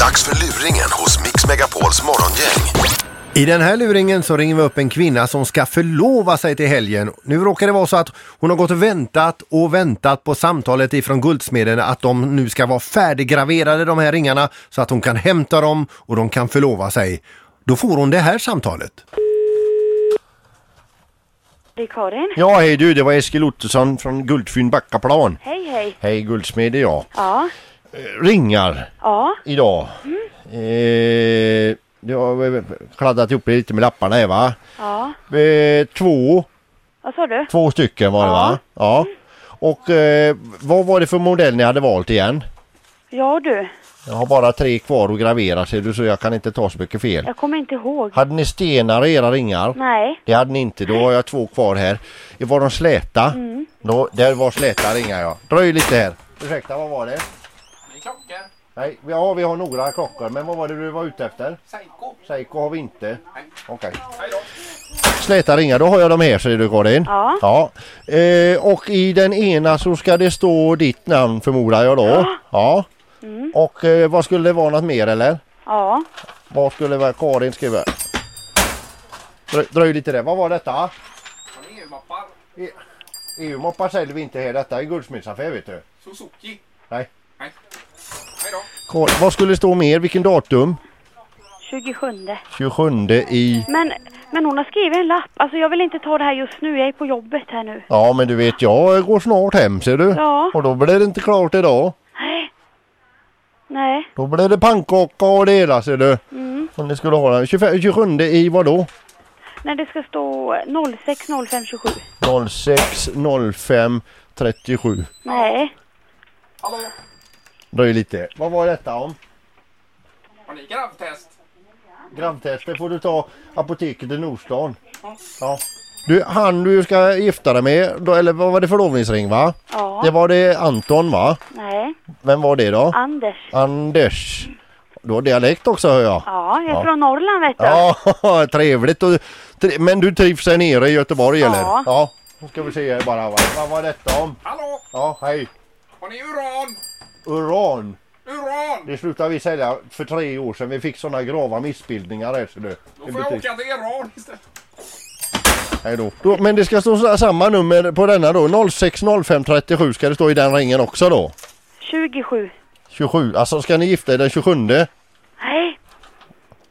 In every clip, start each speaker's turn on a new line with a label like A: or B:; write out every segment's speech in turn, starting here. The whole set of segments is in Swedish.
A: Dags för luringen hos Mix Megapols morgongäng.
B: I den här luringen så ringer vi upp en kvinna som ska förlova sig till helgen. Nu råkar det vara så att hon har gått och väntat och väntat på samtalet ifrån guldsmeden att de nu ska vara färdiggraverade de här ringarna så att hon kan hämta dem och de kan förlova sig. Då får hon det här samtalet.
C: Det är Karin.
B: Ja, hej du, det var Eskil Ottosson från Guldfynd Backaplan.
C: Hej, hej.
B: Hej guldsmed, ja.
C: Ja,
B: Ringar
C: ja,
B: idag. Eh, du har kladdat ihop det lite med lapparna här va?
C: ja.
B: Eh, två
C: Vad sa du?
B: Två stycken var det va? Ja. Och eh, vad var det för modell ni hade valt igen?
C: Ja du,
B: Jag har bara tre kvar att gravera ser du så jag kan inte ta så mycket fel.
C: jag kommer inte ihåg.
B: Hade ni stenar i era ringar?
C: Nej.
B: Det hade ni inte, då har jag två kvar här. Var de släta? Mm. Då, där var släta ringar ja. Dröj lite här. Ursäkta, vad var det?
D: Klockan.
B: Nej, ja vi har några klockor men vad var det du var ute efter?
D: Seiko.
B: Seiko har vi inte.
D: Nej.
B: Okej.
D: Hej då.
B: Släta ringar, då har jag dem här ser du Karin.
C: Ja.
B: ja. Eh, och i den ena så ska det stå ditt namn förmodar jag då. Ja. Och eh, vad skulle det vara något mer eller?
C: Ja,
B: Vad skulle det vara? Karin skriver. Dröj, dröj lite där, vad var detta? E
D: Har ni E EU-mappar?
B: EU-moppar säljer vi inte här, detta är guldsmedsaffär vet du.
D: Suzuki.
B: Nej.
D: Nej. Hej då.
B: Karin, vad skulle det stå mer? Vilken datum?
C: 27.
B: 27 i...
C: Men, men hon har skrivit en lapp. Alltså jag vill inte ta det här just nu, jag är på jobbet här nu.
B: Ja men du vet jag går snart hem ser du.
C: Ja.
B: Och då blir det inte klart idag.
C: Nej. Nej,
B: Då blir det pannkaka och det hela ser du. Om ni skulle ha den. 25, 27 i vad då?
C: nej det ska stå 060527.
B: 06 05 37.
C: Nej.
D: Hallå.
B: Dröj lite. Vad var detta om?
D: Har ni gravtest?
B: Gravtester får du ta apoteket i Nordstan. Ja. Du, han du ska gifta dig med, då, eller vad var det förlovningsring va?
C: Ja.
B: Det var det Anton va?
C: Nej.
B: Vem var det då?
C: Anders.
B: Anders. Du har dialekt också hör jag.
C: Ja, jag är från Norrland vet du.
B: Ja, trevligt. Och, tre, men du trivs här nere i Göteborg
C: Ja.
B: eller? Ja. Nu ska vi se här bara. va. Vad var detta om?
D: Hallå.
B: Ja, hej.
D: Har ni uran?
B: Uran.
D: Uran.
B: Det slutade vi sälja för tre år sedan. Vi fick sådana grava missbildningar här ser du.
D: Då
B: I
D: får jag
B: butik.
D: åka till Iran istället.
B: Hej då. då. Men det ska stå så- samma nummer på denna då. 060537 ska det stå i den ringen också då.
C: 27.
B: 27. Alltså ska ni gifta er den 27?
C: Nej.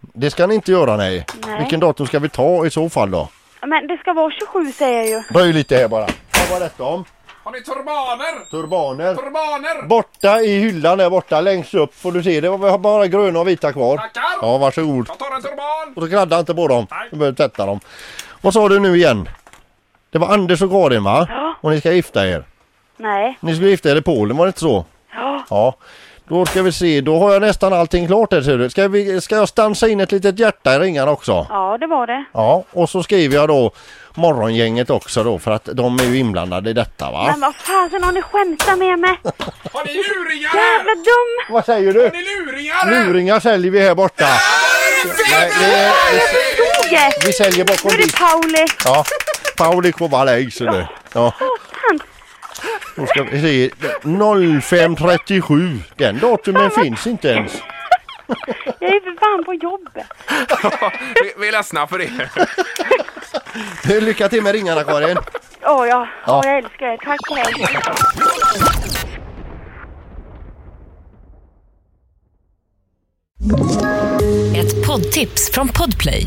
B: Det ska ni inte göra nej.
C: Nej.
B: Vilken datum ska vi ta i så fall då?
C: Men det ska vara 27 säger jag ju.
B: Dröj lite här bara. Vad var detta om?
D: Har ni turbaner?
B: Turbaner.
D: Turbaner.
B: Borta i hyllan där borta längst upp får du se. Det var vi har bara gröna och vita kvar.
D: Tackar.
B: Ja varsågod.
D: Jag tar en turban.
B: Och så kladda inte på dem.
D: Nej.
B: Du behöver tvätta dem. Vad sa du nu igen? Det var Anders och Karin va?
C: Ja.
B: Och ni ska gifta er.
C: Nej.
B: Ni skulle gifta er i Polen var det inte så?
C: Ja.
B: Ja. Då ska vi se. Då har jag nästan allting klart här ser du. Ska, vi, ska jag stansa in ett litet hjärta i ringarna också?
C: Ja, det var det.
B: Ja. Och så skriver jag då morgongänget också då för att de är ju inblandade i detta va?
C: Men vad fasen har ni skämtat med mig?
D: Har ni luringar
C: Jävla dum!
D: här?
B: Vad säger du?
D: Har ni luringar här?
B: Luringar säljer vi här borta. Nej, det är,
C: Toge!
B: vi säljer
C: Nu
B: bakom
C: är det
B: disk.
C: Pauli!
B: Ja. Pauli Kovalej ser du. Ja.
C: Fan!
B: Då ska vi se. 0537. Den datumen finns inte ens.
C: Jag är för fan på jobbet!
D: Vi, vi är ledsna för det.
B: Lycka till med ringarna Karin.
C: Åh ja,
B: Ja.
C: Åh, jag älskar er. Tack och hej!
E: Ett poddtips från Podplay.